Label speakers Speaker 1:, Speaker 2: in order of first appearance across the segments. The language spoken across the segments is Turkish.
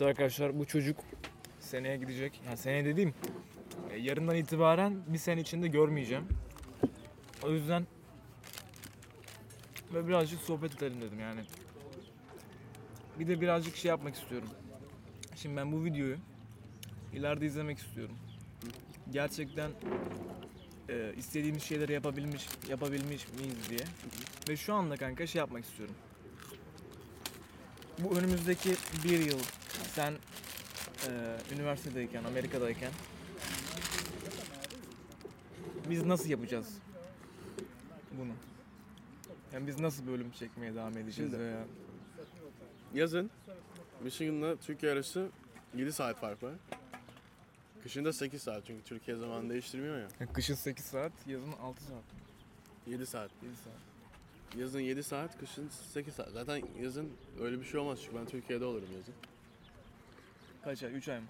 Speaker 1: Hatta arkadaşlar bu çocuk seneye gidecek. Yani seneye dediğim e, yarından itibaren bir sene içinde görmeyeceğim. O yüzden ve birazcık sohbet edelim dedim yani. Bir de birazcık şey yapmak istiyorum. Şimdi ben bu videoyu ileride izlemek istiyorum. Gerçekten e, istediğimiz şeyleri yapabilmiş yapabilmiş miyiz diye. Ve şu anda kanka şey yapmak istiyorum. Bu önümüzdeki bir yıl sen e, üniversitedeyken, Amerika'dayken biz nasıl yapacağız bunu? Yani biz nasıl bölüm çekmeye devam edeceğiz
Speaker 2: Şimdi-
Speaker 1: veya
Speaker 2: Yazın Michigan'la Türkiye arası 7 saat fark var. Kışın da 8 saat çünkü Türkiye zaman değiştirmiyor ya.
Speaker 1: Yani kışın 8 saat, yazın 6 saat,
Speaker 2: 7 saat.
Speaker 1: 7 saat.
Speaker 2: Yazın 7 saat, kışın 8 saat. Zaten yazın öyle bir şey olmaz çünkü ben Türkiye'de olurum yazın.
Speaker 1: Kaç ay? 3 ay mı?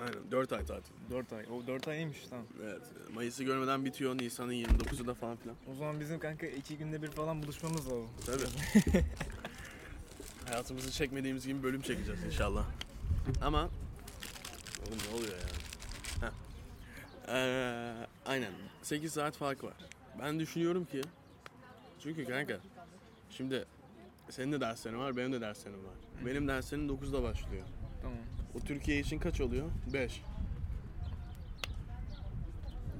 Speaker 2: Aynen 4 ay tatil.
Speaker 1: 4 ay. O 4 ay iyiymiş tamam.
Speaker 2: Evet. Mayıs'ı görmeden bitiyor. Nisan'ın 29'u da falan filan.
Speaker 1: O zaman bizim kanka 2 günde bir falan buluşmamız lazım.
Speaker 2: Tabii. Hayatımızı çekmediğimiz gibi bölüm çekeceğiz inşallah. Ama oğlum ne oluyor ya? Heh. Ee, aynen. 8 saat fark var. Ben düşünüyorum ki çünkü kanka şimdi senin de derslerin var, benim de derslerim var. Benim derslerim 9'da başlıyor.
Speaker 1: Tamam.
Speaker 2: O Türkiye için kaç oluyor? 5.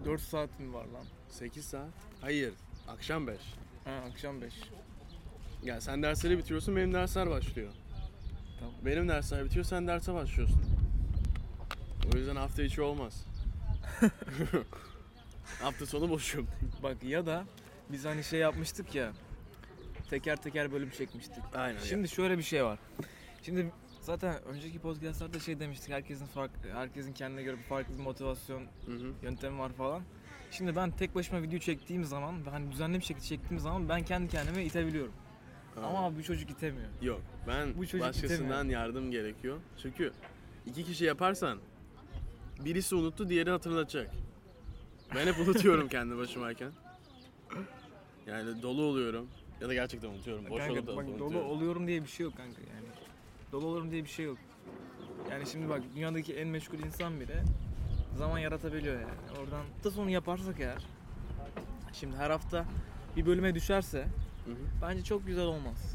Speaker 1: 4 saat mi var lan?
Speaker 2: 8 saat. Hayır. Akşam 5.
Speaker 1: Ha akşam 5.
Speaker 2: Yani sen dersleri bitiriyorsun, benim dersler başlıyor.
Speaker 1: Tamam.
Speaker 2: Benim dersler bitiyor, sen derse başlıyorsun. O yüzden hafta içi olmaz. hafta sonu boşum.
Speaker 1: Bak ya da biz hani şey yapmıştık ya. Teker teker bölüm çekmiştik.
Speaker 2: Aynen.
Speaker 1: Şimdi şöyle bir şey var. Şimdi zaten önceki podcastlarda şey demiştik. Herkesin farklı, herkesin kendine göre bir farklı bir motivasyon
Speaker 2: Hı-hı.
Speaker 1: yöntemi var falan. Şimdi ben tek başıma video çektiğim zaman, hani düzenli bir şekilde çektiğim zaman ben kendi kendime itebiliyorum. Ama abi bu çocuk itemiyor.
Speaker 2: Yok. Ben
Speaker 1: Bu çocuk
Speaker 2: başkasından yardım gerekiyor. Çünkü iki kişi yaparsan birisi unuttu, diğeri hatırlatacak. Ben hep unutuyorum kendi başımayken. Yani dolu oluyorum. Ya da gerçekten unutuyorum. Boş olup da
Speaker 1: kanka bak dolu
Speaker 2: unutuyorum.
Speaker 1: oluyorum diye bir şey yok kanka yani. Dolu olurum diye bir şey yok. Yani şimdi bak dünyadaki en meşgul insan bile zaman yaratabiliyor yani. Oradan hafta sonu yaparsak eğer şimdi her hafta bir bölüme düşerse
Speaker 2: Hı hı.
Speaker 1: bence çok güzel olmaz.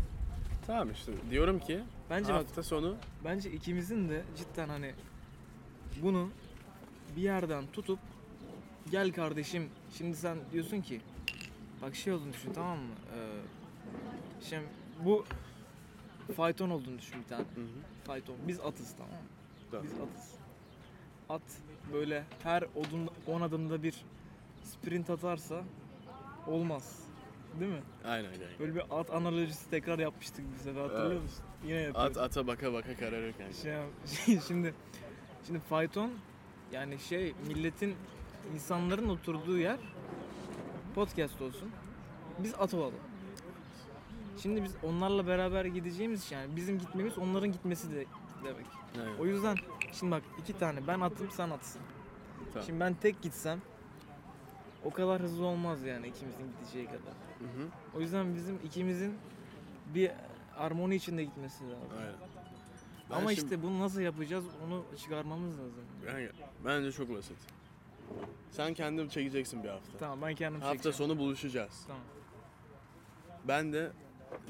Speaker 2: Tamam işte diyorum ki
Speaker 1: Bence bak
Speaker 2: hafta sonu
Speaker 1: bence ikimizin de cidden hani bunu bir yerden tutup gel kardeşim şimdi sen diyorsun ki bak şey olduğunu düşün tamam mı? Ee, şimdi bu fayton olduğunu düşün bir tane.
Speaker 2: Hı hı.
Speaker 1: Fayton. Biz atız tamam mı?
Speaker 2: Tamam.
Speaker 1: Biz atız. At böyle her odun, 10 adımda bir sprint atarsa olmaz. Değil mi?
Speaker 2: Aynen aynen.
Speaker 1: Böyle bir at analojisi tekrar yapmıştık biz de hatırlıyor
Speaker 2: Evet.
Speaker 1: musun? Yine yapıyoruz.
Speaker 2: At ata baka baka kararır kanka.
Speaker 1: Şey, şey, şimdi şimdi fayton yani şey milletin insanların oturduğu yer podcast olsun. Biz at olalım. Şimdi biz onlarla beraber gideceğimiz için yani bizim gitmemiz onların gitmesi de demek.
Speaker 2: Aynen.
Speaker 1: O yüzden şimdi bak iki tane ben atım sen atsın.
Speaker 2: Tamam.
Speaker 1: Şimdi ben tek gitsem o kadar hızlı olmaz yani ikimizin gideceği kadar.
Speaker 2: Hı hı.
Speaker 1: O yüzden bizim ikimizin bir armoni içinde gitmesi lazım.
Speaker 2: Aynen. Ben
Speaker 1: Ama
Speaker 2: şimdi-
Speaker 1: işte bunu nasıl yapacağız onu çıkarmamız lazım.
Speaker 2: Kanka, bence çok basit. Sen kendin çekeceksin bir hafta.
Speaker 1: Tamam ben kendim
Speaker 2: hafta
Speaker 1: çekeceğim.
Speaker 2: sonu buluşacağız.
Speaker 1: Tamam.
Speaker 2: Ben de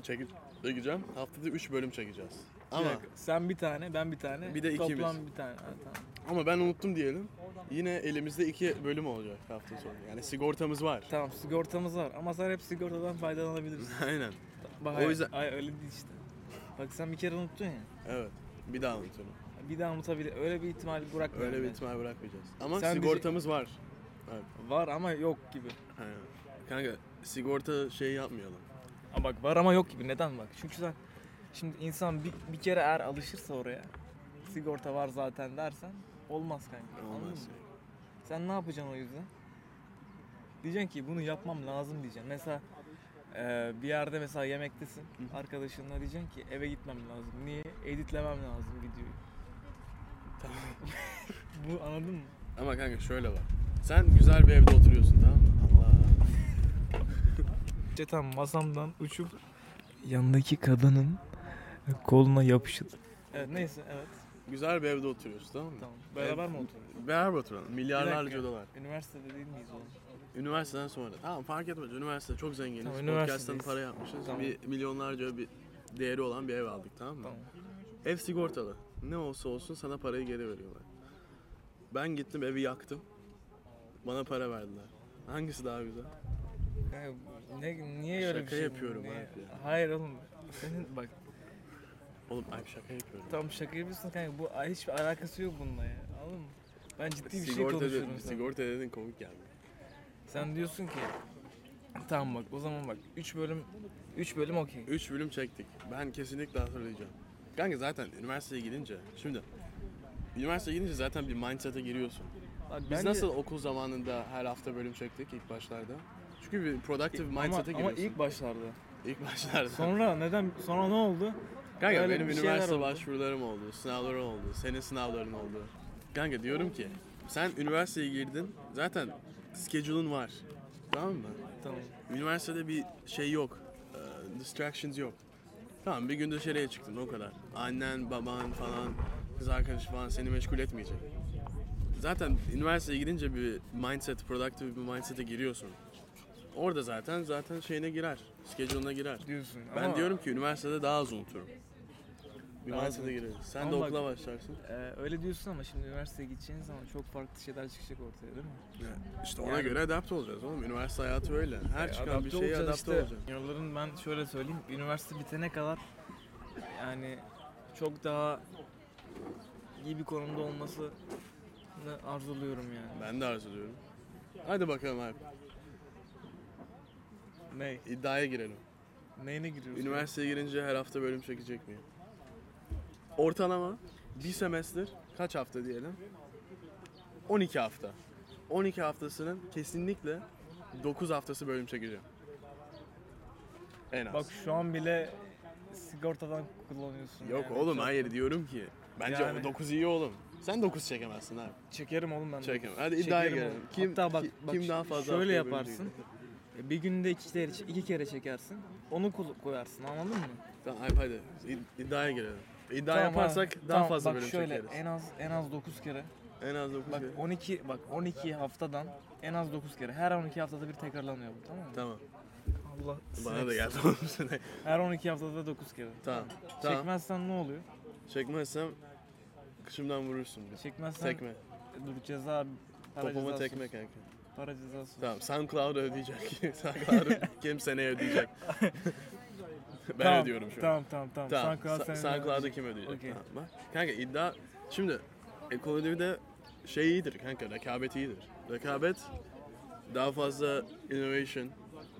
Speaker 2: çekip çekeceğim. Haftada 3 bölüm çekeceğiz.
Speaker 1: Bir
Speaker 2: Ama
Speaker 1: dakika, Sen bir tane ben bir tane.
Speaker 2: Bir de ikimiz.
Speaker 1: Toplam bir tane. Ha, tamam.
Speaker 2: ama ben unuttum diyelim. Yine elimizde 2 bölüm olacak hafta sonu. Yani sigortamız var.
Speaker 1: tamam sigortamız var ama sen hep sigortadan faydalanabilirsin.
Speaker 2: Aynen.
Speaker 1: Bak,
Speaker 2: O
Speaker 1: hayır,
Speaker 2: yüzden-
Speaker 1: Hayır öyle değil işte. Bak sen bir kere unuttun ya.
Speaker 2: Evet. Bir daha unuturum.
Speaker 1: Bir daha unutabilir. Öyle bir ihtimal bırakmıyorum.
Speaker 2: Öyle bir
Speaker 1: ben.
Speaker 2: ihtimal bırakmayacağız. Ama
Speaker 1: Sen bizi-
Speaker 2: sigortamız var. Evet.
Speaker 1: Var ama yok gibi.
Speaker 2: Aynen. Kanka sigorta şey yapmayalım.
Speaker 1: Ama bak var ama yok gibi. Neden bak? Çünkü sen şimdi insan bir, bir kere eğer alışırsa oraya sigorta var zaten dersen olmaz kanka. Anladın mı?
Speaker 2: Olmaz.
Speaker 1: Sen ne yapacaksın o yüzden? Diyeceksin ki bunu yapmam lazım diyeceksin. Mesela eee, bir yerde mesela yemektesin. Arkadaşınla diyeceksin ki eve gitmem lazım. Niye? Editlemem lazım videoyu.
Speaker 2: Tamam.
Speaker 1: Bu anladın mı?
Speaker 2: Ama kanka şöyle bak. Sen güzel bir evde oturuyorsun tamam mı? Allah.
Speaker 1: Cetan masamdan uçup yanındaki kadının koluna yapışıp. Evet neyse evet.
Speaker 2: Güzel bir evde oturuyoruz tamam mı?
Speaker 1: Tamam. Beraber mi oturuyoruz?
Speaker 2: Beraber oturalım.
Speaker 1: Bir
Speaker 2: Milyarlarca
Speaker 1: dakika.
Speaker 2: dolar.
Speaker 1: Üniversitede değil miyiz oğlum?
Speaker 2: Üniversiteden sonra. Tamam fark etmez. Üniversite çok zenginiz.
Speaker 1: Tamam,
Speaker 2: Podcast'tan
Speaker 1: üniversitedeyiz.
Speaker 2: para yapmışız.
Speaker 1: Tamam.
Speaker 2: Bir milyonlarca bir değeri olan bir ev aldık tamam mı?
Speaker 1: Tamam.
Speaker 2: Ev sigortalı. Ne olsa olsun sana parayı geri veriyorlar. Ben gittim evi yaktım. Bana para verdiler. Hangisi daha güzel?
Speaker 1: Ya ne, niye öyle bir
Speaker 2: Şaka
Speaker 1: şey?
Speaker 2: yapıyorum
Speaker 1: niye?
Speaker 2: abi ya.
Speaker 1: Hayır oğlum. Senin bak
Speaker 2: Oğlum ay şaka yapıyorum.
Speaker 1: tam şaka yapıyorsun kanka. Bu hiçbir alakası yok bununla ya. Anladın mı? Ben ciddi bir şey
Speaker 2: Sigorta
Speaker 1: konuşuyorum.
Speaker 2: dedin,
Speaker 1: sana.
Speaker 2: sigorta dedin komik geldi.
Speaker 1: Sen diyorsun ki tamam bak o zaman bak 3 bölüm 3 bölüm okey.
Speaker 2: 3 bölüm çektik. Ben kesinlikle hatırlayacağım. Kanka zaten üniversiteye gidince şimdi üniversiteye gidince zaten bir mindset'e giriyorsun.
Speaker 1: Bak
Speaker 2: Biz
Speaker 1: bence-
Speaker 2: nasıl okul zamanında her hafta bölüm çektik ilk başlarda? Çünkü bir productive
Speaker 1: Ama-
Speaker 2: mindset'e
Speaker 1: ama,
Speaker 2: giriyorsun.
Speaker 1: ilk başlarda.
Speaker 2: ilk başlarda.
Speaker 1: Sonra neden sonra ne oldu?
Speaker 2: Kanka
Speaker 1: Öyle
Speaker 2: benim
Speaker 1: bir şeyler
Speaker 2: üniversite
Speaker 1: oldu.
Speaker 2: başvurularım oldu, sınavlarım oldu, senin sınavların oldu. Kanka diyorum ki sen üniversiteye girdin zaten schedule'un var. Tamam mı?
Speaker 1: Tamam.
Speaker 2: Üniversitede bir şey yok. e, distractions yok. Tamam bir gün dışarıya çıktın o kadar. Annen, baban falan, kız arkadaşı falan seni meşgul etmeyecek. Zaten üniversiteye gidince bir mindset, productive bir mindset'e giriyorsun. Orada zaten zaten şeyine girer, schedule'ına girer.
Speaker 1: Diyorsun.
Speaker 2: Ben
Speaker 1: ama,
Speaker 2: diyorum ki üniversitede daha az unuturum.
Speaker 1: Daha az
Speaker 2: Üniversitede gireriz. Sen
Speaker 1: Ama
Speaker 2: de
Speaker 1: bak-
Speaker 2: okula başlarsın.
Speaker 1: e, öyle diyorsun ama şimdi üniversiteye gideceğin zaman çok farklı şeyler çıkacak ortaya değil mi?
Speaker 2: İşte ona
Speaker 1: Yani-
Speaker 2: göre adapte olacağız oğlum. Üniversite hayatı öyle. Her çıkan bir
Speaker 1: Ee, Adapte
Speaker 2: şeye
Speaker 1: olacaksın
Speaker 2: E, adapte
Speaker 1: işte.
Speaker 2: olacaksın.
Speaker 1: Yılların ben şöyle söyleyeyim. Üniversite bitene kadar yani çok daha iyi bir konumda olmasını arzuluyorum yani.
Speaker 2: Ben de arzuluyorum. Hadi bakalım abi.
Speaker 1: Ney?
Speaker 2: İddiaya girelim.
Speaker 1: Neyine giriyoruz?
Speaker 2: Üniversiteye girince her hafta bölüm çekecek miyim? Ortalama bir semester kaç hafta diyelim? 12 hafta. 12 haftasının kesinlikle 9 haftası bölüm çekeceğim. En az.
Speaker 1: Bak şu an bile sigortadan kullanıyorsun.
Speaker 2: Yok
Speaker 1: yani.
Speaker 2: oğlum
Speaker 1: Çok-
Speaker 2: hayır diyorum ki. Bence
Speaker 1: Yani.
Speaker 2: 9 iyi oğlum. Sen 9 çekemezsin abi.
Speaker 1: Çekerim oğlum ben. de.
Speaker 2: Çekem. Hadi iddiaya
Speaker 1: Çekerim
Speaker 2: girelim.
Speaker 1: oğlum.
Speaker 2: Kim,
Speaker 1: Hatta bak,
Speaker 2: ki-
Speaker 1: bak
Speaker 2: kim daha fazla
Speaker 1: şöyle
Speaker 2: haftaya bölüm
Speaker 1: yaparsın. E,
Speaker 2: çekecek?
Speaker 1: Bir günde iki kere, iki kere çekersin. Onu kul- koyarsın anladın mı?
Speaker 2: Tamam abi hadi İd- iddiaya girelim. İddia
Speaker 1: Tamam abi.
Speaker 2: yaparsak daha
Speaker 1: Tamam,
Speaker 2: fazla
Speaker 1: bak
Speaker 2: bölüm
Speaker 1: şöyle,
Speaker 2: çekeriz. En,
Speaker 1: en az en az 9 kere.
Speaker 2: az 9
Speaker 1: Bak
Speaker 2: kere.
Speaker 1: 12 bak 12 haftadan en az 9 kere. Her 12 haftada bir tekrarlanıyor bu tamam mı?
Speaker 2: Tamam.
Speaker 1: Allah
Speaker 2: Bana
Speaker 1: sinek
Speaker 2: da geldi
Speaker 1: olsun.
Speaker 2: oğlum sene.
Speaker 1: Her 12 haftada 9 kere.
Speaker 2: Tamam. Tamam.
Speaker 1: Çekmezsen ne oluyor?
Speaker 2: Çekmezsem kışımdan vurursun. Bir.
Speaker 1: Çekmezsen
Speaker 2: Tekme.
Speaker 1: dur ceza para
Speaker 2: Topuma
Speaker 1: cezası.
Speaker 2: tekme kanka.
Speaker 1: Para cezası.
Speaker 2: Tamam. SoundCloud ödeyecek. SoundCloud kim seneye ödeyecek? ben
Speaker 1: Tamam,
Speaker 2: ödüyorum şu an.
Speaker 1: Tamam tamam tamam.
Speaker 2: Tamam.
Speaker 1: SoundCloud sen-
Speaker 2: Sa- SoundCloud'u kim ödeyecek?
Speaker 1: Okey.
Speaker 2: Tamam. Bak. Kanka iddia şimdi ekonomide şey iyidir kanka rekabet iyidir. Rekabet daha fazla innovation,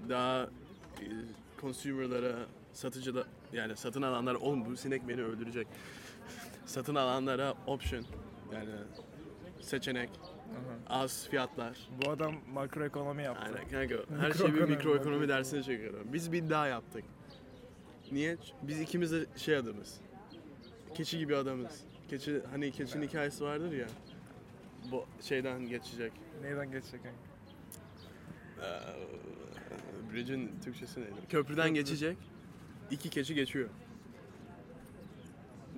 Speaker 2: daha e, consumer'lara, satıcıda yani satın alanlara oğlum bu sinek beni öldürecek. satın alanlara option yani seçenek,
Speaker 1: Aha.
Speaker 2: az fiyatlar.
Speaker 1: Bu adam makroekonomi yaptı.
Speaker 2: Aynen kanka. Her şeyi bir
Speaker 1: Mikroekonomi,
Speaker 2: mikroekonomi
Speaker 1: makroekonomi.
Speaker 2: dersine çekiyorum. Biz bir daha yaptık. Niye? Ç- Biz ikimiz de şey adamız. Keçi gibi adamız. Keçi hani keçinin hikayesi vardır ya. Bu şeyden geçecek.
Speaker 1: Neyden geçecek kanka?
Speaker 2: Eee, Ee, Bridge'in Türkçesi neydi? Köprüden geçecek. İki keçi geçiyor.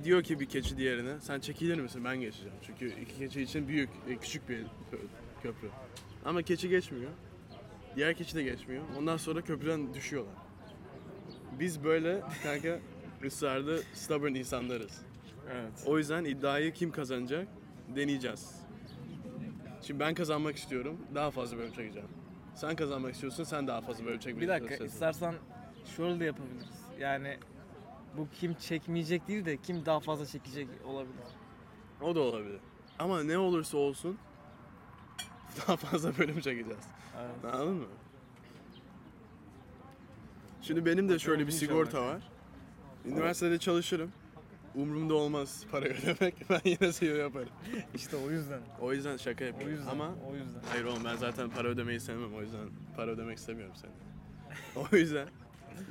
Speaker 2: Diyor ki bir keçi diğerine sen çekilir misin ben geçeceğim. Çünkü iki keçi için büyük, e, küçük bir kö- köprü. Ama keçi geçmiyor. Diğer keçi de geçmiyor. Ondan sonra köprüden düşüyorlar. Biz böyle kanka ısrarlı stubborn insanlarız.
Speaker 1: Evet.
Speaker 2: O yüzden iddiayı kim kazanacak deneyeceğiz. Şimdi ben kazanmak istiyorum. Daha fazla bölüm çekeceğim. Sen kazanmak istiyorsun. Sen daha fazla bölüm çekmeye
Speaker 1: Bir dakika
Speaker 2: çalışacaksın.
Speaker 1: istersen şöyle de yapabiliriz. Yani bu kim çekmeyecek değil de kim daha fazla çekecek olabilir.
Speaker 2: O da olabilir. Ama ne olursa olsun daha fazla bölüm çekeceğiz.
Speaker 1: Evet.
Speaker 2: Anladın mı? Şimdi benim de şöyle bir
Speaker 1: İnşallah.
Speaker 2: sigorta var. Üniversitede çalışırım. Umurumda olmaz para ödemek. Ben yine CEO yaparım.
Speaker 1: İşte o yüzden.
Speaker 2: O yüzden şaka
Speaker 1: O
Speaker 2: yapıyorum.
Speaker 1: yüzden.
Speaker 2: Ama
Speaker 1: o yüzden.
Speaker 2: Hayır oğlum ben zaten para ödemeyi sevmem o yüzden para ödemek istemiyorum seni. O yüzden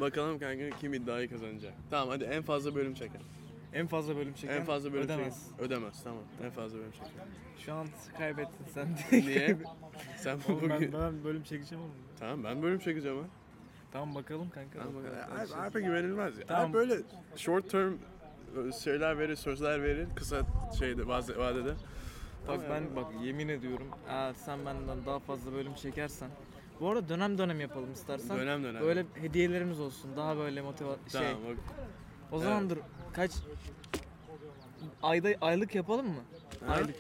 Speaker 2: bakalım kanka kim iddiayı kazanacak. Tamam hadi en fazla bölüm çeker.
Speaker 1: En fazla bölüm çeken
Speaker 2: En fazla bölüm
Speaker 1: ödemez.
Speaker 2: çeker. Ödemez tamam. En fazla bölüm çeker.
Speaker 1: Şu an kaybettin sen.
Speaker 2: Niye? Sen
Speaker 1: Oğlum ben,
Speaker 2: bugün...
Speaker 1: ben bölüm çekeceğim oğlum.
Speaker 2: Tamam ben bölüm çekeceğim ha.
Speaker 1: Tamam bakalım kanka.
Speaker 2: Tamam bakalım.
Speaker 1: Arkadaşlar.
Speaker 2: güvenilmez ya.
Speaker 1: Tamam.
Speaker 2: böyle short term şeyler verir, sözler verir. Kısa şeyde vaze- vadede.
Speaker 1: Bak
Speaker 2: Ama
Speaker 1: ben bak yemin ediyorum eğer sen benden daha fazla bölüm çekersen bu arada dönem dönem yapalım istersen.
Speaker 2: Dönem dönem.
Speaker 1: Böyle hediyelerimiz olsun. Daha böyle motiva şey.
Speaker 2: Tamam bak.
Speaker 1: O zamandır kaç ayda aylık yapalım mı?
Speaker 2: Ha?
Speaker 1: Aylık.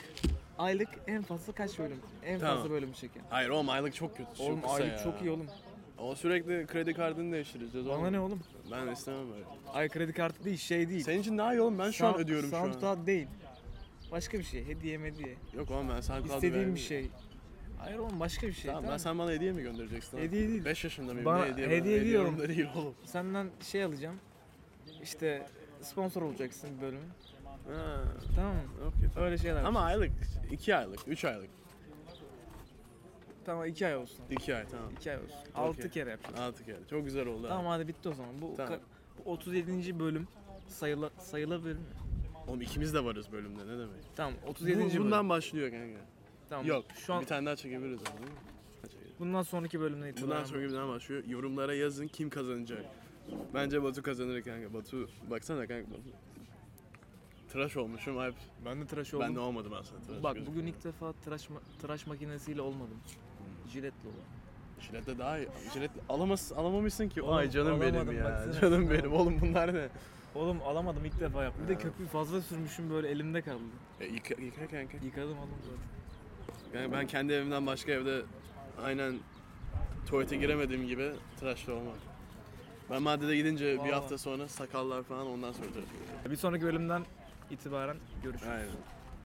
Speaker 1: Aylık en fazla kaç bölüm? En
Speaker 2: Tamam.
Speaker 1: fazla bölüm çeker.
Speaker 2: Hayır oğlum aylık çok kötü. çok
Speaker 1: Oğlum
Speaker 2: kısa
Speaker 1: aylık
Speaker 2: ya.
Speaker 1: çok iyi oğlum.
Speaker 2: Ama sürekli kredi kartını değiştireceğiz oğlum.
Speaker 1: Bana ne oğlum?
Speaker 2: Ben istemem böyle.
Speaker 1: Ay kredi kartı değil şey değil.
Speaker 2: Senin için daha iyi oğlum ben şu an
Speaker 1: Sound-
Speaker 2: ödüyorum şu an.
Speaker 1: SoundCloud değil. Başka bir şey. Hediye hediye.
Speaker 2: Yok oğlum ben SoundCloud'u
Speaker 1: İstediğim
Speaker 2: vermeyeyim.
Speaker 1: bir şey. Hayır oğlum başka bir şey.
Speaker 2: Tamam,
Speaker 1: Tamam,
Speaker 2: ben sen bana hediye mi göndereceksin? lan?
Speaker 1: Hediye değil.
Speaker 2: 5 yaşında mıyım?
Speaker 1: Bana
Speaker 2: ne hediye,
Speaker 1: hediye
Speaker 2: ben,
Speaker 1: diyorum.
Speaker 2: Hediye değil oğlum.
Speaker 1: Senden şey alacağım. İşte sponsor olacaksın bir bölümün.
Speaker 2: Ha,
Speaker 1: Tamam mı?
Speaker 2: okey. tamam.
Speaker 1: Öyle şeyler.
Speaker 2: Ama aylık, 2 aylık, 3 aylık,
Speaker 1: Tamam iki ay olsun.
Speaker 2: 2 ay tamam.
Speaker 1: İki ay olsun. Altı kere yapacağız.
Speaker 2: 6 kere. Çok güzel oldu. ha.
Speaker 1: Tamam hadi bitti o zaman. Bu,
Speaker 2: Tamam.
Speaker 1: ka- bu 37. bölüm sayıla, sayılabilir mi?
Speaker 2: Oğlum ikimiz de varız bölümde ne demek?
Speaker 1: Tamam 37.
Speaker 2: Bu, bundan
Speaker 1: bölüm.
Speaker 2: başlıyor kanka.
Speaker 1: Tamam.
Speaker 2: Yok.
Speaker 1: Şu an
Speaker 2: Bir tane daha çekebiliriz ama değil mi? Ha, çekelim.
Speaker 1: bundan sonraki bölümden itibaren.
Speaker 2: Bundan sonra bir daha başlıyor. Yorumlara yazın kim kazanacak. Bence Batu kazanır kanka. Batu baksana kanka Batu. Tıraş olmuşum hep.
Speaker 1: Ben de tıraş oldum.
Speaker 2: Ben de olmadım aslında. Tıraş
Speaker 1: Bak
Speaker 2: gözüküyor.
Speaker 1: bugün ilk defa tıraş, ma- tıraş makinesiyle olmadım. Jiletle oldu.
Speaker 2: Jilet de daha iyi. Jilet alamaz, alamamışsın ki.
Speaker 1: Oğlum,
Speaker 2: Ay canım benim
Speaker 1: alamadım,
Speaker 2: ya.
Speaker 1: baksana.
Speaker 2: Canım benim. Oğlum bunlar ne?
Speaker 1: Oğlum alamadım ilk defa yaptım. Bir de
Speaker 2: Ha.
Speaker 1: köpüğü fazla sürmüşüm böyle elimde kaldı.
Speaker 2: E, yıka, yıka kanka.
Speaker 1: Yıkadım oğlum zaten.
Speaker 2: Yani ben kendi evimden başka evde aynen tuvalete giremediğim gibi tıraşlı olmam. Ben maddede gidince bir
Speaker 1: Vallahi.
Speaker 2: hafta sonra sakallar falan ondan sonra tıraş oluyorum.
Speaker 1: Bir sonraki bölümden itibaren görüşürüz.
Speaker 2: Aynen.